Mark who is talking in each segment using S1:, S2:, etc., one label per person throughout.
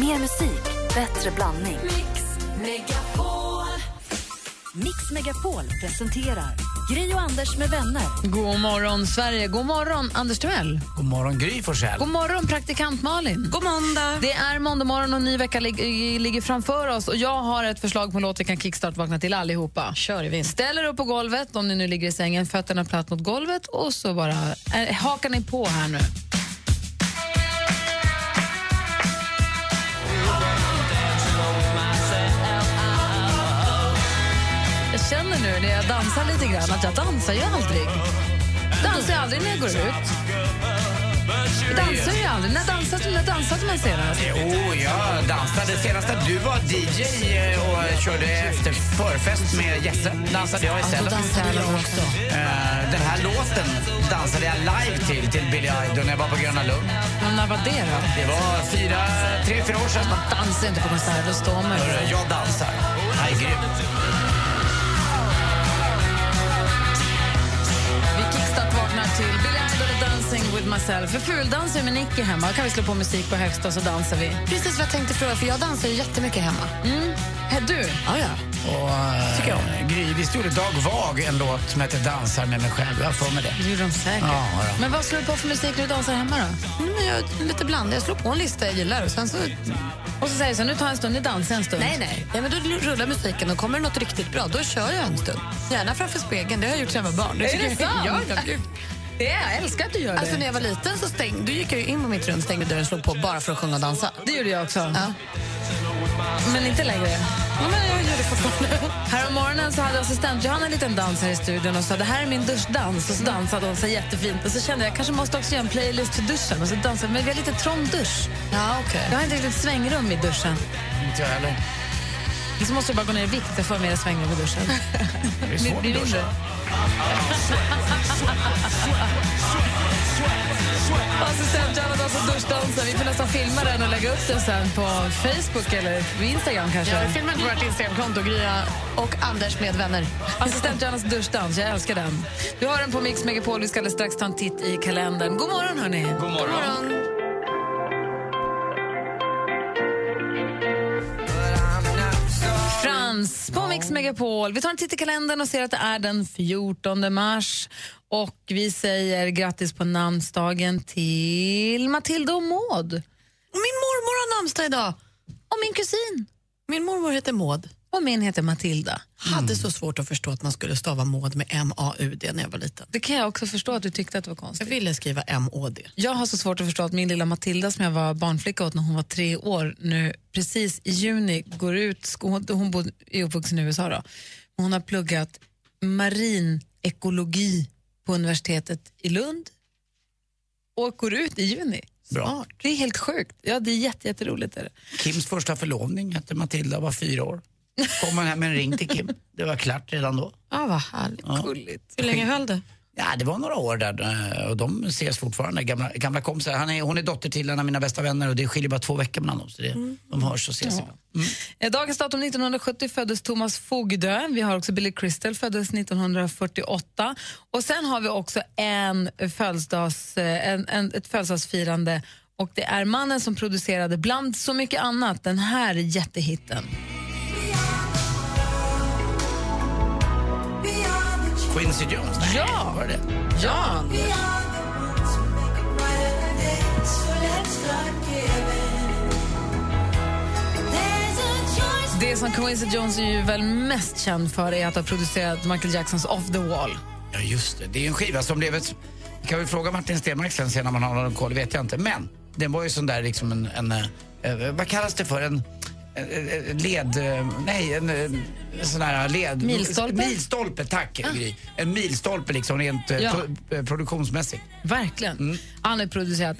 S1: Mer musik, bättre blandning.
S2: Mix Megapol.
S1: Mix Megapol presenterar Gri och Anders med vänner.
S3: God morgon, Sverige. God morgon, Anders Timell.
S4: God morgon Gry Forssell.
S3: God morgon, praktikant Malin.
S2: God måndag.
S3: Det är måndag morgon och en ny vecka lig i- ligger framför oss. Och Jag har ett förslag på en låt vi kan kickstart-vakna till allihopa.
S2: Kör i vinst.
S3: Ställ er upp på golvet, om ni nu ligger i sängen, fötterna platt mot golvet och så bara eh, hakar ni på här nu. Jag känner nu när jag dansar lite grann att jag dansar ju aldrig. Dansar jag aldrig när jag går ut. Jag dansar ju aldrig. När dansat, när dansat man senast?
S4: Jo, jag dansade senast att du var DJ och körde efter förfest med Jesse. Dansade jag
S3: Då
S4: istället.
S3: dansar jag aldrig också.
S4: Eh, Den här låten dansade jag live till, till Billy Idol när jag var på Gröna Lund.
S3: Men när var det då?
S4: Det var fyra, tre, fyra år sedan.
S3: Dansar inte på konserter, då står man ju.
S4: Hörru, Jag dansar. Det här är grymt.
S3: Vi kickstart-vaknar till Billy Idol och Dancing with myself. För fuldansar med Nicky hemma. kan vi slå på musik på högsta så dansar vi.
S2: Precis vad jag tänkte fråga, för jag dansar ju jättemycket hemma.
S3: Hej, du,
S2: Ja, ja.
S4: Och, eh, Gry, visst gjorde Dag Vag en låt som heter Dansar med mig själv? Jag har för mig det.
S3: det gjorde de säkert.
S4: Ja, ja.
S3: Men vad slår du på för musik när du dansar hemma då?
S2: Mm, men jag är lite bland. Jag slår på en lista jag gillar och sen så...
S3: Och så säger du så här, nu tar jag en stund, nu dansar jag en stund.
S2: Nej, nej. Ja, men då rullar musiken och kommer det något riktigt bra, då kör jag en stund. Gärna framför spegeln, det har jag gjort sedan jag var barn.
S3: Är
S2: tycker
S3: det
S2: jag-
S3: sant?
S2: Ja, ja, gud.
S3: Det är, jag älskar att du gör det.
S2: Alltså när jag var liten så stäng, då gick jag ju in på mitt rum, stängde dörren och slog på bara för att sjunga och dansa.
S3: det gjorde jag också.
S2: Ja.
S3: Men inte längre.
S2: Ja, men jag gör det fortfarande.
S3: Här om morgonen så hade assistent Johanna en liten dans här i studion och sa det här är min duschdans. Och så dansade hon så jättefint. Och så kände jag jag kanske måste också göra en playlist till duschen. Och så dansade jag, men vi har lite trång dusch.
S2: Ja, okej.
S3: Jag har inte riktigt svängrum i duschen.
S4: Inte jag heller.
S3: Så måste jag bara gå ner i vikt för att få mer svängrum i duschen.
S4: Det är
S3: Blir
S4: svårt
S3: det
S4: att
S3: mindre?
S4: duscha.
S3: Assistent Johanna dansar duschdansen. Vi får nästan filma den och lägga upp den sen på Facebook eller Instagram
S2: Ja, vi
S3: kanske.
S2: filmar på vårt Instagramkonto, Grya och Anders med vänner.
S3: Assistent Johannas duschdans, jag älskar den. Du har den på Mix Megapol, vi ska alldeles strax ta en titt i kalendern. God morgon hörni!
S4: God morgon.
S3: Frans på Mix Megapol. Vi tar en titt i kalendern och ser att det är den 14 mars. Och vi säger grattis på namnsdagen till Matilda och Maud.
S2: Och Min mormor har namnsdag idag.
S3: Och min kusin.
S2: Min mormor heter Maud.
S3: Och min heter Matilda.
S2: Hade så svårt att förstå att man skulle stava Maud med M-A-U-D när jag var liten.
S3: Det kan jag också förstå att du tyckte att det var
S2: Jag
S3: konstigt.
S2: ville skriva M-Å-D.
S3: Jag har så svårt att förstå att min lilla Matilda som jag var barnflicka åt när hon var tre år nu precis i juni går ut, sko- hon, hon bod, är uppvuxen i USA då. Hon har pluggat marinekologi på universitetet i Lund och går ut i juni.
S4: Bra.
S3: Det är helt sjukt. Ja, det är jätte, jätteroligt. Är det.
S4: Kims första förlovning hette Matilda och var fyra år. Kom man hem med en ring till Kim. Det var klart redan då.
S2: Ah, vad härligt.
S3: Gulligt.
S2: Hur länge höll det?
S4: Ja, det var några år där eh, och de ses fortfarande, gamla, gamla kompisar. Han är, hon är dotter till en av mina bästa vänner och det skiljer bara två veckor mellan dem. Så det,
S3: Mm.
S4: De hörs och ses ibland.
S3: Eh, Dagens datum 1970 föddes Thomas Fogdö. Vi har också Billy Crystal, föddes 1948. Och sen har vi också en födelsedags, eh, en, en, ett födelsedagsfirande och det är mannen som producerade, bland så mycket annat, den här jättehitten.
S4: Quincy Jones? Nej,
S3: Ja!
S4: Var det?
S3: Ja! Det som Quincy Jones är ju väl mest känd för är att ha producerat Michael Jacksons Off the Wall.
S4: Ja, just det. Det är en skiva som blev ett... Jag kan vi fråga Martin Stenmarck sen, sen om han har någon koll, vet jag inte. Men den var ju sån där liksom en... en eh, vad kallas det för? En eh, eh, led... eh, Nej, en eh, sån här led...
S3: Milstolpe? Ah.
S4: Milstolpe, tack Gry. En milstolpe liksom rent eh,
S3: Ja.
S4: pro, eh, produktionsmässigt.
S3: Verkligen. Han har producerat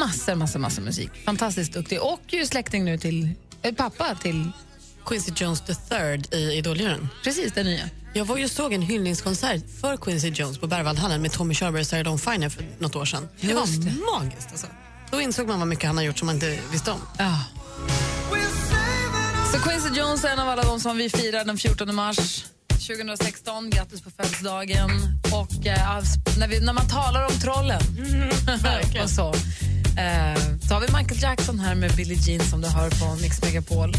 S3: massor, massor, massor musik. Fantastiskt duktig och ju släkting nu till eh, pappa till
S2: Quincy Jones the third i Idoljuryn.
S3: precis den nya.
S2: Jag var ju såg en hyllningskonsert för Quincy Jones på Berwaldhallen med Tommy Körberg och Sarah Dawn Finer för något år sedan. Det
S3: Just
S2: var
S3: det.
S2: magiskt. Alltså. Då insåg man vad mycket han har gjort som man inte visste om.
S3: Ja. Så Quincy Jones är en av alla de som vi firar den 14 mars 2016. Grattis på födelsedagen. Och eh, avs- när, vi, när man talar om trollen och så, Eh, så har vi Michael Jackson här med Billie Jean som du hör på Mix Megapol.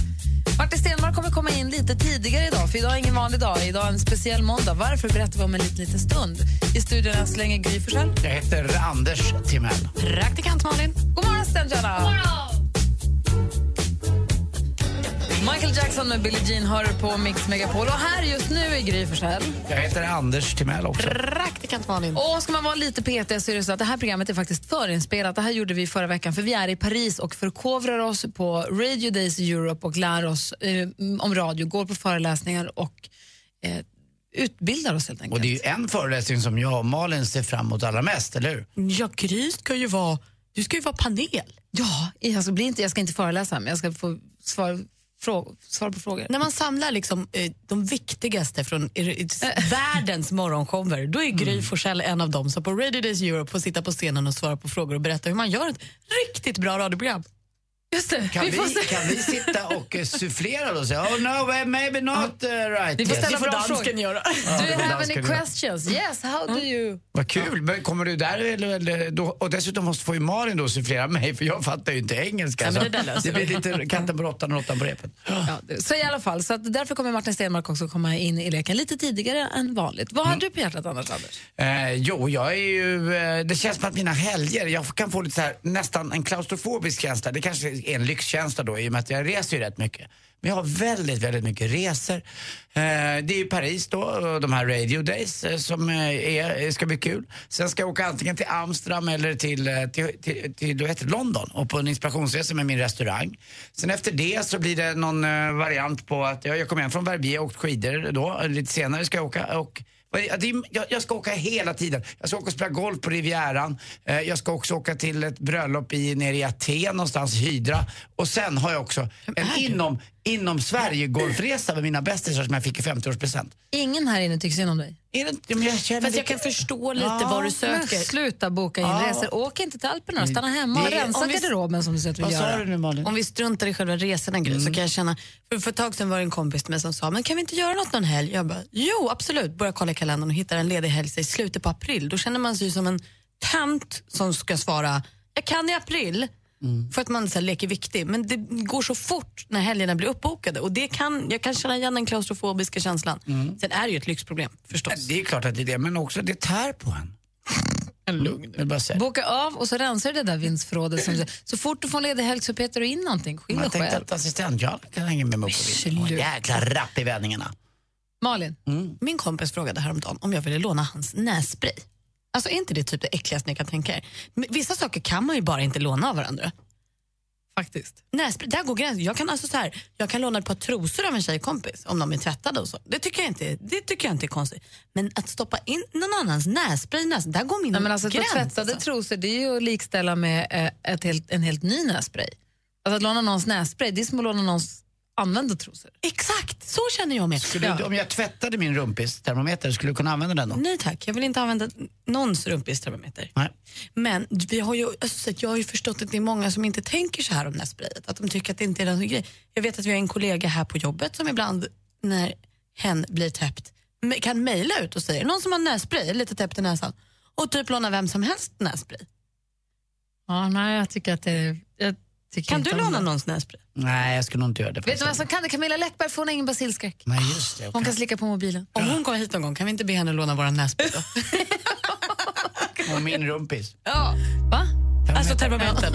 S3: Martin Stenmark kommer komma in lite tidigare idag, för idag är ingen vanlig dag. Idag är en speciell måndag. Varför berättar vi om en liten, liten stund. I studion än så länge Gry Forssell.
S4: Jag heter Anders Timell.
S2: Praktikant Malin.
S3: God morgon, Stenjana! Michael Jackson med Billie Jean hör på Mix Megapol. Och här just nu är Gry Forssell.
S4: Jag heter Anders Timell också.
S2: Praktikant Malin.
S3: Och ska man vara lite petig så är det så att det här programmet är faktiskt förinspelat. Det här gjorde vi förra veckan för vi är i Paris och förkovrar oss på Radio Days Europe och lär oss eh, om radio, går på föreläsningar och eh, utbildar oss helt enkelt.
S4: Och det är ju en föreläsning som jag och Malin ser fram emot allra mest, eller hur?
S2: Ja, Gry ska ju vara... Du ska ju vara panel.
S3: Ja, jag ska, bli inte, jag ska inte föreläsa men jag ska få svar, frå, svar på frågor.
S2: När man samlar liksom, eh, de viktigaste från er- eh, världens morgonshower då är Gry Forssell en av dem som på Radio Days Europe får sitta på scenen och svara på frågor och berätta hur man gör ett riktigt bra radioprogram.
S3: Just det,
S4: Kan vi,
S3: får se.
S4: kan vi sitta och eh, sufflera då och säga oh no, eh, maybe not eh, right?
S3: Vi får
S4: yet."
S3: ställa
S2: Det
S3: bra
S2: får dansken
S3: frågor.
S2: göra.
S4: Ja,
S3: Do you
S4: ibland
S3: have
S4: ska
S3: any
S4: det vara. Mm.
S3: questions? Yes, how do you?
S4: Vad kul! Men kommer du där eller, eller då, Och dessutom måste få ju Malin då sufflera mig för jag fattar ju inte engelska.
S2: Ja, men
S4: så
S2: det där löser
S4: blir lite katten på råttan och råttan på repet.
S3: Ja, det- så i alla fall, så att därför kommer Martin Stenmark också komma in i leken lite tidigare än vanligt. Vad har
S4: Mm.
S3: du på hjärtat annars, Anders?
S4: Eh, jo, jag är ju... Eh, det känns som att mina helger, jag kan få lite så här, nästan en klaustrofobisk känsla. Det kanske är en lyxkänsla då i och med att jag reser ju rätt mycket. Men jag har väldigt, väldigt mycket resor. Eh, det är ju Paris då, och de här Radio Days eh, som eh, är, ska bli kul. Sen ska jag åka antingen till Amsterdam eller till, eh, till, till, till vad heter det, London och på en inspirationsresa med min restaurang. Sen efter det så blir det någon eh, variant på att jag, jag kommer hem från Verbier och åkt skidor då. Lite senare ska jag åka och vad är- ja, det är- Jag, jag ska åka hela tiden. Jag ska åka och spela golf på Rivieran. Eh, Jag ska också åka till ett bröllop i, nere i Aten någonstans, Hydra. Och sen har jag också en inom, inom Sverige-golfresa med mina bästisar som jag fick i 50-årspresent.
S3: Ingen här inne tycker synd om dig.
S4: Är det inte- men Jag känner
S2: Fast jag
S4: lite-
S2: kan förstå lite
S4: Ja,
S2: vad du
S3: Men
S2: söker.
S3: sluta boka in
S4: Ja. Mm.
S3: resor. Åk inte till Alperna, stanna hemma och
S4: Det-
S3: rensa
S2: om vi-
S3: garderoben som du säger att du
S4: Vad
S3: vill
S4: sa du
S3: göra.
S4: nu Malin?
S2: Om vi struntar i själva resorna Gry, så kan jag känna, för, för ett tag sedan var det en kompis till mig som sa, men kan vi inte göra något någon helg? Jag bara, jo absolut, börjar kolla i kalendern och hittar en ledig helg så i slutet på april. Då känner man sig ju som en tant som ska svara, jag kan i april. För att man så här, leker viktig. Men det går så fort när helgerna blir uppbokade. Och det kan, jag kan känna igen den klaustrofobiska känslan. Sen är det ju ett lyxproblem förstås.
S4: Det är klart att det är det, men också det tär på en. En lugn. Jag bara säger.
S3: Boka av och så rensar du det där vindsförrådet. Som du, så fort du får en ledig helg så petar du in någonting. Skyll dig
S4: Jag tänkte
S3: själv.
S4: att assistent jag kan hänga med mig upp på vinden.
S3: Sluta.
S4: Jäkla rapp i vändningarna.
S3: Malin,
S4: Mm.
S2: Min kompis frågade häromdagen om jag ville låna hans nässpray. Alltså är inte det typ det äckligaste ni kan tänka er? Men vissa saker kan man ju bara inte låna av varandra.
S3: faktiskt.
S2: Nässpray, där går gränsen. Jag kan, alltså så här, jag kan låna ett par trosor av en tjejkompis om de är tvättade och så. Det tycker jag inte, det tycker jag inte är konstigt. Men att stoppa in någon annans nässpray i näsan, där går min
S3: Nej, men alltså, att
S2: gräns.
S3: vara tvättade
S2: alltså.
S3: trosor det är ju att likställa med eh, ett helt, en helt ny nässpray. Alltså att låna någons nässpray, det är som att låna någons använda trosor.
S2: Exakt, så känner jag med.
S4: Skulle,
S2: Ja.
S4: Om jag tvättade min rumpis termometer, skulle du kunna använda den då?
S2: Nej tack, jag vill inte använda någons rumpistermometer.
S4: Nej.
S2: Men vi har ju, alltså, så att jag har ju förstått att det är många som inte tänker så här om nässprayet. Att de tycker att det inte är någon grej. Jag vet att vi har en kollega här på jobbet som ibland när hen blir täppt me- kan mejla ut och säga någon som har nässpray, lite täppt i näsan och typ låna vem som helst nässpray.
S3: Ja, nej, jag tycker att det... Jag tycker
S2: Kan
S3: inte
S2: du
S3: om
S2: låna
S3: det.
S2: någons nässpray?
S4: Nej, jag skulle nog inte göra det.
S3: Vet du vem
S4: faktiskt.
S3: som kan det? Camilla Läckberg, för hon har ingen basilskräck.
S4: Nej, just det.
S3: Hon
S4: Kan...
S3: kan slicka på mobilen.
S2: Om hon kommer hit någon gång kan vi inte be henne låna våra nässpray då?
S4: Och min rumpis.
S2: ja.
S3: Va?
S2: Alltså termometern.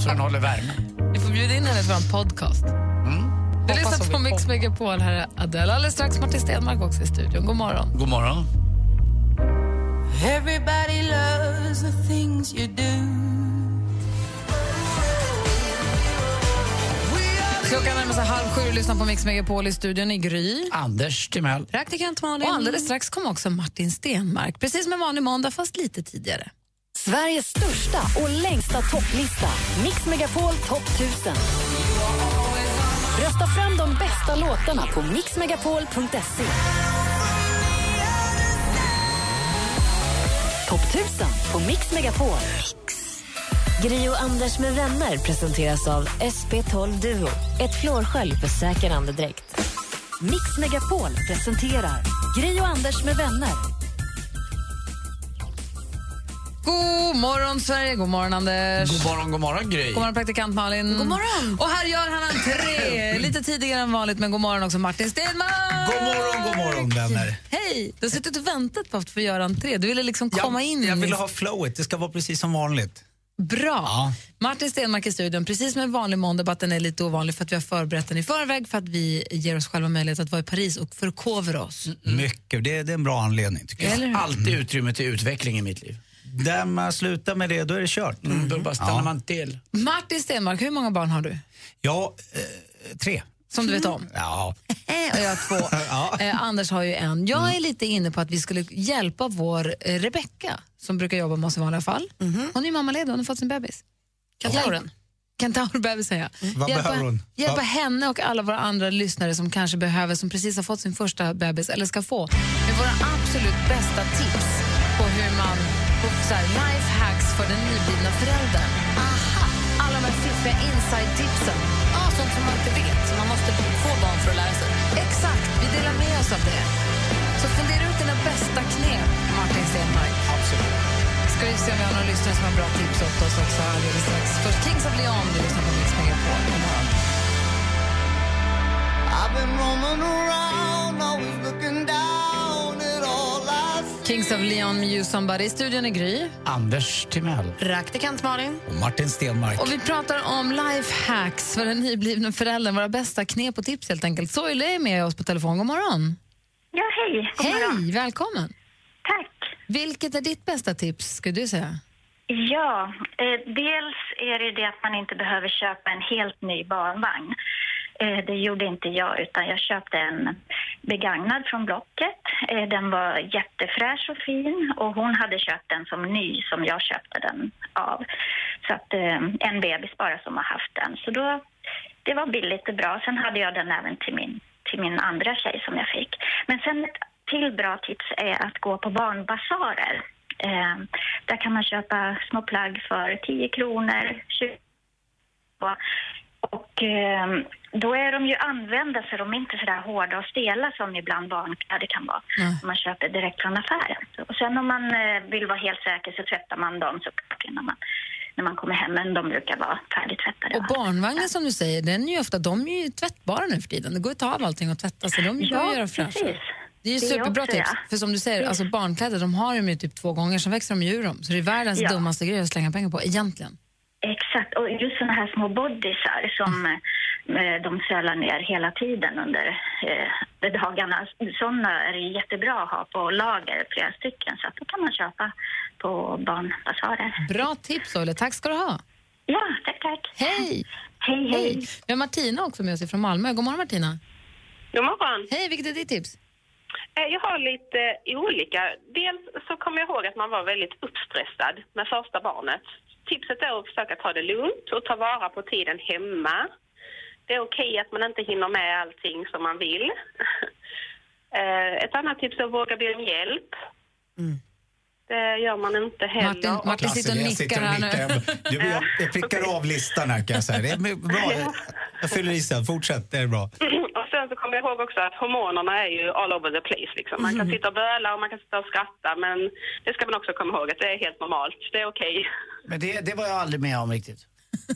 S4: Så den håller värmen.
S3: Vi får bjuda in henne för en podcast.
S2: Mm.
S3: Du lyssnar på Mix Megapol. Här är Adele. Alldeles strax Martin Stenmark också i studion. God morgon.
S4: God morgon.
S5: Everybody loves the things you do.
S3: Klockan närmar sig halv sju och lyssnar på Mix Megapol i studion i Gry.
S4: Anders Timell.
S2: Praktikant Malin.
S3: Och alldeles strax kommer också Martin Stenmark. Precis som en vanlig måndag, fast lite tidigare.
S1: Sveriges största och längsta topplista. Mix Megapol topp 1000. Rösta fram de bästa låtarna på mixmegapol.se. Topp 1000 på Mix Megapol. Gri och Anders med vänner presenteras av SP12 Duo. Ett flårskölj för säker andedräkt. Mix Megapol presenterar Gri och Anders med vänner.
S3: God morgon, Sverige! God morgon, Anders!
S4: God morgon, god morgon Gry.
S3: God morgon, praktikant Malin.
S2: God morgon.
S3: Och här gör han entré, lite tidigare än vanligt, men god morgon också Martin Stenmarck.
S4: God morgon, god morgon, vänner.
S3: Hej! Du har suttit och väntat på att få göra entré. Du ville liksom
S6: Jag-
S3: komma in.
S6: Jag
S3: i-
S6: vill ha flowet, det ska vara precis som vanligt.
S3: Bra! Martin Stenmarck i studion, precis som en vanlig måndag, bara att den är lite ovanlig för att vi har förberett den i förväg för att vi ger oss själva möjlighet att vara i Paris och förkovra oss.
S4: Mm.
S6: Mycket, det, det är en bra anledning tycker jag.
S3: Eller hur?
S4: Alltid utrymme till utveckling i mitt liv.
S6: Där man slutar med det, Mm, då är det kört.
S4: Då bara stannar man till.
S3: Martin Stenmarck, hur många barn har du?
S6: Ja, eh, tre.
S3: Som du vet om?
S6: Ja,
S3: Eh, och jag har två. eh, Anders har ju en.
S6: Mm.
S3: Jag är lite inne på att vi skulle hjälpa vår eh, Rebecka som brukar jobba med oss i vanliga fall.
S6: Mm-hmm.
S3: Hon är ju mammaledig, hon har fått sin bebis.
S2: Kan ta den?
S3: Kentaurbebis säger jag.
S6: Vad
S3: hjälpa,
S6: behöver hon?
S3: Hjälpa
S6: Vad-
S3: henne och alla våra andra lyssnare som kanske behöver, som precis har fått sin första bebis eller ska få, med våra absolut bästa tips på hur man, på så här, lifehacks för den nyblivna föräldern. Aha! Alla de här fiffiga inside-tipsen. Ja, sånt som man inte vet, som man måste få barn för att lära sig. Exakt, vi delar med oss av det. Så fundera ut dina bästa knep, Martin Stenmark. Absolut. Ska vi se om vi har några lyssnare som har bra tips åt oss också alldeles strax. Först Kings of Leon, du lyssnar på Mix Megapol. God morgon. Kings of Leon med You Somebody. I studion är Gry.
S4: Anders Timell.
S2: Praktikant Malin.
S6: och Martin Stenmark.
S3: Och vi pratar om lifehacks för den nyblivna föräldern. Våra bästa knep och tips helt enkelt. Soile är med oss på telefon. God morgon.
S7: Ja, hej. God morgon.
S3: Hej, välkommen.
S7: Tack.
S3: Vilket är ditt bästa tips, skulle du säga?
S7: Ja, eh, dels är det ju det att man inte behöver köpa en helt ny barnvagn. Eh, det gjorde inte jag, utan jag köpte en begagnad från Blocket. Eh, den var jättefräsch och fin och hon hade köpt den som ny som jag köpte den av. Så att eh, en bebis bara som har haft den. Så då, det var billigt och bra. Sen hade jag den även till min, till min andra tjej som jag fick. Men sen ett till bra tips är att gå på barnbasarer. Eh, där kan man köpa små plagg för 10 kronor, 20 kronor. Och eh, då är de ju använda så de är inte så där hårda och stela som ibland barnkläder kan vara.
S3: Nej.
S7: Man köper direkt från affären. Och sen om man eh, vill vara helt säker så tvättar man dem såklart innan man, när man kommer hem. Men de brukar vara färdigtvättade.
S3: Och barnvagnen som du säger, den är ju ofta, de är ju tvättbara nu för tiden. Det går ju att ta av allting och tvätta, så de går att göra fräscha.
S7: precis.
S3: Det är ju
S7: Det är
S3: superbra
S7: också,
S3: tips.
S7: ja. Mm.
S3: För som du säger, alltså barnkläder, de har de ju typ två gånger, sen växer de ur dem. Så det är världens
S7: Ja.
S3: dummaste grej att slänga pengar på, egentligen.
S7: Exakt, och just såna här små bodysar som eh, de sölar ner hela tiden under eh, dagarna. Såna är det jättebra att ha på lager, flera stycken, så att då kan man köpa på barnbasarer.
S3: Bra tips, Olle. Tack ska du ha.
S7: Ja, tack, tack.
S3: Hej!
S7: Hej, hej.
S3: Hej! Mm. Vi har Martina också med oss från Malmö. God morgon Martina.
S8: God morgon.
S3: Hej, vilket är ditt tips?
S8: Eh, Jag har lite eh, olika. Dels så kommer jag ihåg att man var väldigt uppstressad med första barnet. Tipset är att försöka ta det lugnt och ta vara på tiden hemma. Det är okej att man inte hinner med allting som man vill. Eh, Ett annat tips är att våga be om hjälp. Det gör man inte heller.
S3: Martin, Martin
S6: Lasse,
S3: sitter och
S6: jag
S3: nickar här nu.
S6: Jag, jag, jag, jag prickar av listan här kan jag säga. Det är bra. Jag, jag fyller i sen, fortsätt, det är bra.
S8: Och sen så kommer jag ihåg också att hormonerna är ju all over the place. Liksom. Man kan sitta och böla och man kan sitta och skratta men det ska man också komma ihåg att det är helt normalt. Det är okej.
S4: Men det, det var jag aldrig med om riktigt.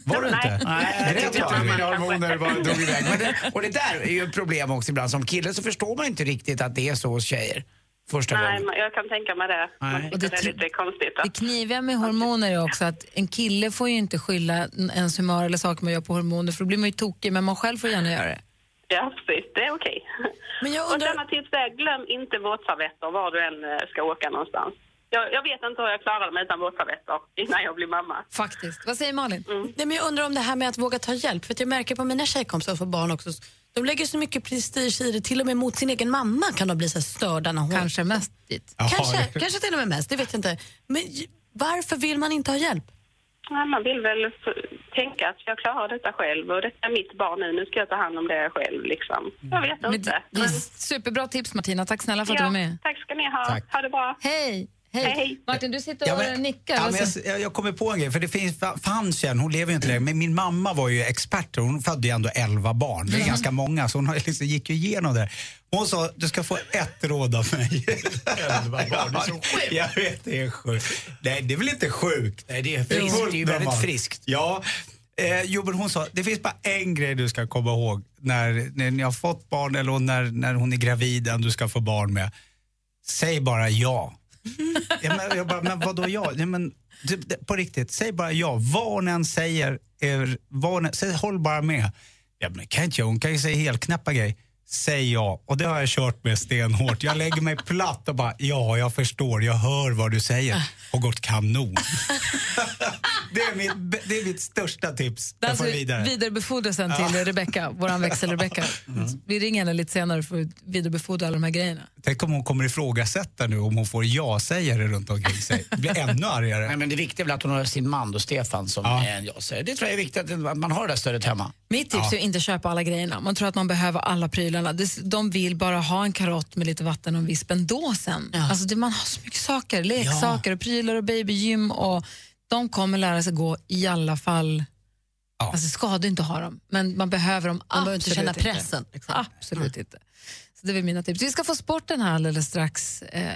S6: Var du inte?
S4: Nej,
S6: det
S4: jag
S6: vet
S4: tyckte
S6: jag.
S4: inte
S6: Mina
S4: det.
S6: hormoner bara drog iväg.
S4: Men det, och det där är ju ett problem också ibland. Som kille så förstår man inte riktigt att det är så hos tjejer. Första
S8: Nej,
S4: gången.
S8: men jag kan tänka mig det. Man
S4: Nej.
S8: tycker
S3: Och det
S8: det, är
S3: tr-
S8: lite konstigt.
S3: Det
S8: Att,
S3: kniviga med hormoner är också att en kille får ju inte skylla n- ens humör eller saker man gör på hormoner för då blir man ju tokig men man själv får gärna göra det.
S8: ja, precis. Det är okej.
S2: Men jag
S8: Och ett
S2: undrar,
S8: annat tips är glöm inte våtservetter var du än eh, ska åka någonstans. Jag, jag vet inte hur jag klarade mig utan våtservetter innan jag blev mamma.
S3: Faktiskt. Vad säger Malin?
S8: Mm.
S2: nej, men jag undrar om det här med att våga ta hjälp. För att jag märker på mina tjejkompisar och får barn också. De lägger så mycket prestige i det, till och med mot sin egen mamma kan de bli så här störda när hon...
S3: Kanske mest dit.
S2: Kanske,
S6: det-
S2: kanske till och med mest, det vet jag inte. Men j- varför vill man inte ha hjälp?
S8: Nej, man vill väl f- tänka att jag klarar detta själv och detta är mitt barn nu. Nu ska jag ta hand om det själv. Liksom. Jag vet
S3: Mm. Men
S8: inte.
S3: det- det är superbra tips Martina, tack snälla för att du var
S8: ja,
S3: med.
S8: tack ska ni ha.
S6: Tack.
S8: Ha det bra.
S3: Hej! Hej.
S8: Hej.
S3: Martin, du sitter
S6: Ja,
S3: och
S6: men-
S3: nickar.
S6: Ja, men
S3: Alltså,
S6: jag, s- jag, jag kommer på en grej, för det finns, fa- fanns ju en, hon lever ju inte längre, men min mamma var ju expert. Hon födde ju ändå 11 barn,
S3: Mm.
S6: det är ganska många, så hon har ju liksom, gick ju igenom det. Hon sa, du ska få ett råd av mig.
S4: Elva barn, det är så sjukt.
S6: Jag vet, det är sjukt. Nej, det är väl inte sjukt?
S4: Nej, det är friskt.
S6: fullt
S4: Det är ju väldigt
S6: normalt.
S4: friskt.
S6: Ja. Eh, jo, men hon sa, det finns bara en grej du ska komma ihåg när, när ni har fått barn eller när, när hon är gravid, den du ska få barn med. Säg bara ja. ja men, jag bara, men vadå ja? Nej, men, du, det, på riktigt, säg bara ja. Vad hon än säger, er, vad hon än, säg, håll bara med. Ja, men det kan inte jag, hon kan ju säga helknäppa grejer. Säg ja. Och det har jag kört med stenhårt. Jag lägger mig platt och bara, ja, jag förstår, jag hör vad du säger. Och gått kanon. Det är mitt, det är mitt största tips.
S3: det
S6: Jag
S3: alltså
S6: får vidare.
S3: vidarebefordra sen till Rebecca, vår växel-Rebecca.
S6: Mm.
S3: Vi ringer henne lite senare för att vidarebefordra alla de här grejerna.
S6: Tänk om hon kommer ifrågasätta nu om hon får ja-sägare runt omkring sig. Det blir ännu
S4: Nej,
S6: argare.
S4: men det viktiga är väl att hon har sin man då, Stefan, som
S6: Ja.
S4: är en ja-sägare. Det tror jag är viktigt att man har det där stödet hemma.
S3: Mitt tips är att inte köpa alla grejerna. Man tror att man behöver alla prylarna. Det- De vill bara ha en karott med lite vatten och en visp ändå sen. Alltså det, man har så mycket saker. Leksaker, och prylar och babygym. Och de kommer lära sig gå i alla fall.
S6: Ja.
S3: Alltså ska du inte ha dem, men man behöver dem
S2: Man
S3: absolut
S2: behöver inte känna pressen.
S3: Inte. Absolut inte. Så det var mina tips. Vi ska få sporten här alldeles strax. Eh,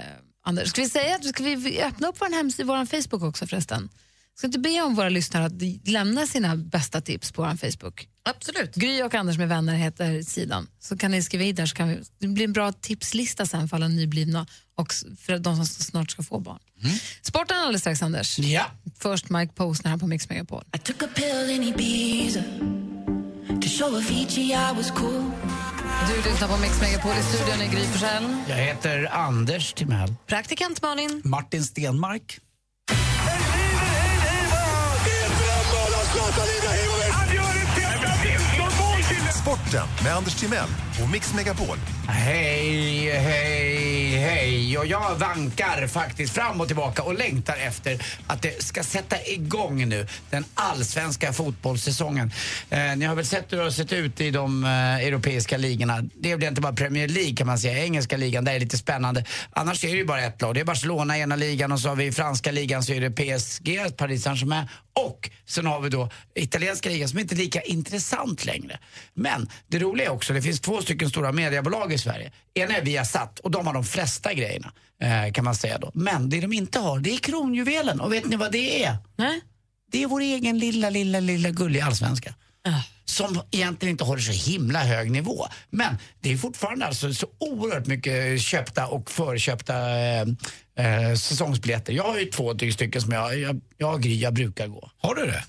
S3: Anders, ska vi säga att ska vi- vi öppna upp vår hemsida, vår Facebook också förresten? Ska inte be om våra lyssnare att lämna sina bästa tips på vår Facebook?
S2: Absolut.
S3: Gry och Anders med vänner heter sidan. Så kan ni skriva i där så kan vi, det blir en bra tipslista sen för alla nyblivna och s- för de som s- snart ska få barn.
S4: Mm.
S3: Sporten alldeles strax, Anders.
S4: Ja.
S3: Först Mike Posner här på Mix Megapol.
S5: I took a pill in Ibiza to show Avicii I was cool.
S3: Du lyssnar på Mix Megapol i studion i Gry Forssell.
S4: Jag heter Anders Timell.
S2: Praktikant Malin.
S6: Martin Stenmark.
S9: Sporten med Anders Timell och Mix Megapol.
S4: Hej, hej, hej. Och jag vankar faktiskt fram och tillbaka och längtar efter att det ska sätta igång nu, den allsvenska fotbollssäsongen. Eh, ni har väl sett hur det har sett ut i de eh, europeiska ligorna. Det är inte bara Premier League kan man säga, engelska ligan, där är det lite spännande. Annars är det ju bara ett lag. Det är Barcelona i ena ligan och så har vi i franska ligan så är det PSG, Paris Saint-Germain och sen har vi då italienska ligan som inte är lika intressant längre. Men det roliga är också, det finns två stycken stora mediebolag i Sverige. Ena är Viasat och de har de flesta grejerna eh, kan man säga då. Men det de inte har, det är kronjuvelen. Och vet ni vad det är?
S2: Nej.
S4: Det är vår egen lilla, lilla, lilla gulliga allsvenska. Som egentligen inte håller så himla hög nivå. Men det är fortfarande alltså så oerhört mycket köpta och förköpta eh, eh, säsongsbiljetter. Jag har ju två ty- stycken som jag, jag, jag och Gry, jag brukar gå.
S6: Har du det?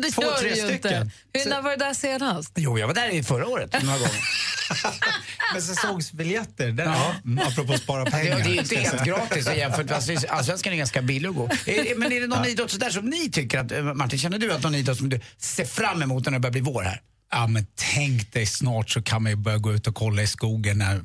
S3: Det
S4: Två,
S3: gör
S4: tre
S3: du ju
S4: stycken.
S3: Inte. Hur, när var det där senast?
S4: Jo, jag var där i förra året några gånger.
S6: Med säsongsbiljetter. Där, ja. mm, apropå spara
S4: Det,
S6: pengar.
S4: det är ju inte helt gratis jämfört med alltså, allsvenskan är ganska billig att gå. Är- Men är det någon idrott sådär som ni tycker att, eh, Martin, känner du att någon idrott som du ser fram emot när det börjar bli vår här?
S6: Ja, men tänk dig snart så kan man ju börja gå ut och kolla i skogen när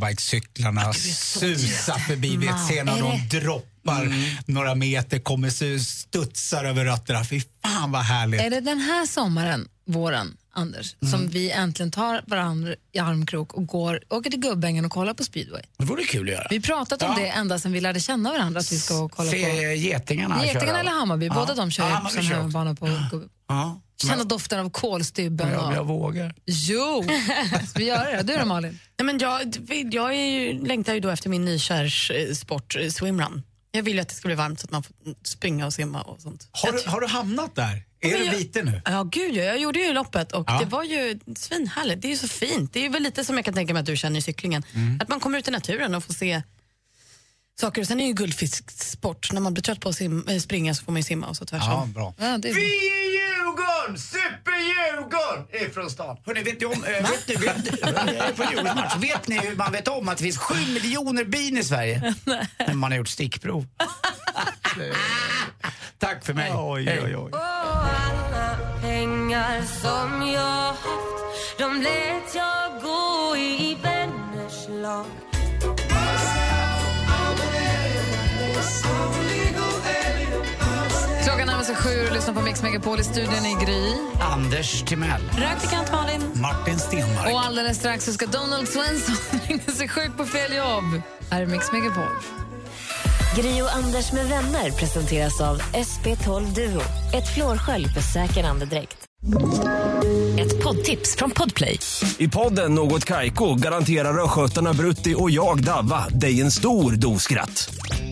S6: mountainbikecyklarna susar förbi. Vi ser när de droppar några meter, kommer su- studsar över rötterna. Fy fan vad härligt.
S3: Är det den här sommaren, våren, Anders, som vi äntligen tar varandra i armkrok och går, åker till Gubbängen och kollar på speedway?
S4: Det vore kul att göra.
S3: Vi har pratat om det ända sedan vi lärde känna varandra att vi ska kolla på...
S4: Se getingarna
S3: Getingarna
S4: köra.
S3: eller Hammarby,
S4: Ja.
S3: båda de kör
S4: Ja,
S3: ju på
S4: Hammarby
S3: sån
S4: kör
S3: här
S4: också.
S3: bana på gubbe-
S4: Ja.
S3: Känna doften av
S4: Men
S3: kolstybben.
S4: jag, jag
S3: och-
S4: vågar.
S3: Jo, ska vi göra det? Du då Malin?
S2: Nej, men jag jag är ju, längtar ju då efter min nykärsport eh, swimrun. Jag vill ju att det ska bli varmt så att man får springa och simma och sånt.
S6: Har, du, har du hamnat där? Är
S2: men
S6: du
S2: jag-
S6: biten nu?
S2: Ja, gud ja, jag gjorde ju loppet och
S6: Ja.
S2: det var ju svinhärligt. Det är ju så fint. Det är väl lite som jag kan tänka mig att du känner i cyklingen.
S6: Mm.
S2: Att man kommer ut i naturen och får se saker. Och sen är det ju guldfisksport. När man blir trött på att sim- eh, springa så får man ju simma och så
S6: Ja,
S2: tvärsom.
S6: bra.
S3: Ja, det är...
S4: Vi är Djurgården! Super-Djurgården! Ifrån stan. Hörrni, vet ni om... eh, vet ni, vet, eh, på julmatch, vet ni hur man vet om att det finns sju miljoner bin i Sverige? När man har gjort stickprov. Tack för mig.
S6: Oj,
S4: Hej.
S6: oj, oj.
S5: Oh, Pengar som jag haft, de lät jag gå i vänners lag.
S3: Klockan närmar sig sju och lyssnar på Mix Megapol i studion i Gry.
S4: Anders Timell.
S2: Praktikant Malin.
S6: Martin Stenmark.
S3: Och alldeles strax så ska Donald Svensson ringa sig sjuk på fel jobb. Här är Mix Megapol.
S1: Gri och Anders med vänner presenteras av SP12 Duo. Ett flårskölj för säker andedräkt. Ett poddtips från Podplay.
S8: I podden Något Kaiko garanterar östgötarna Brutti och jag, Davva, dig en stor dos skratt.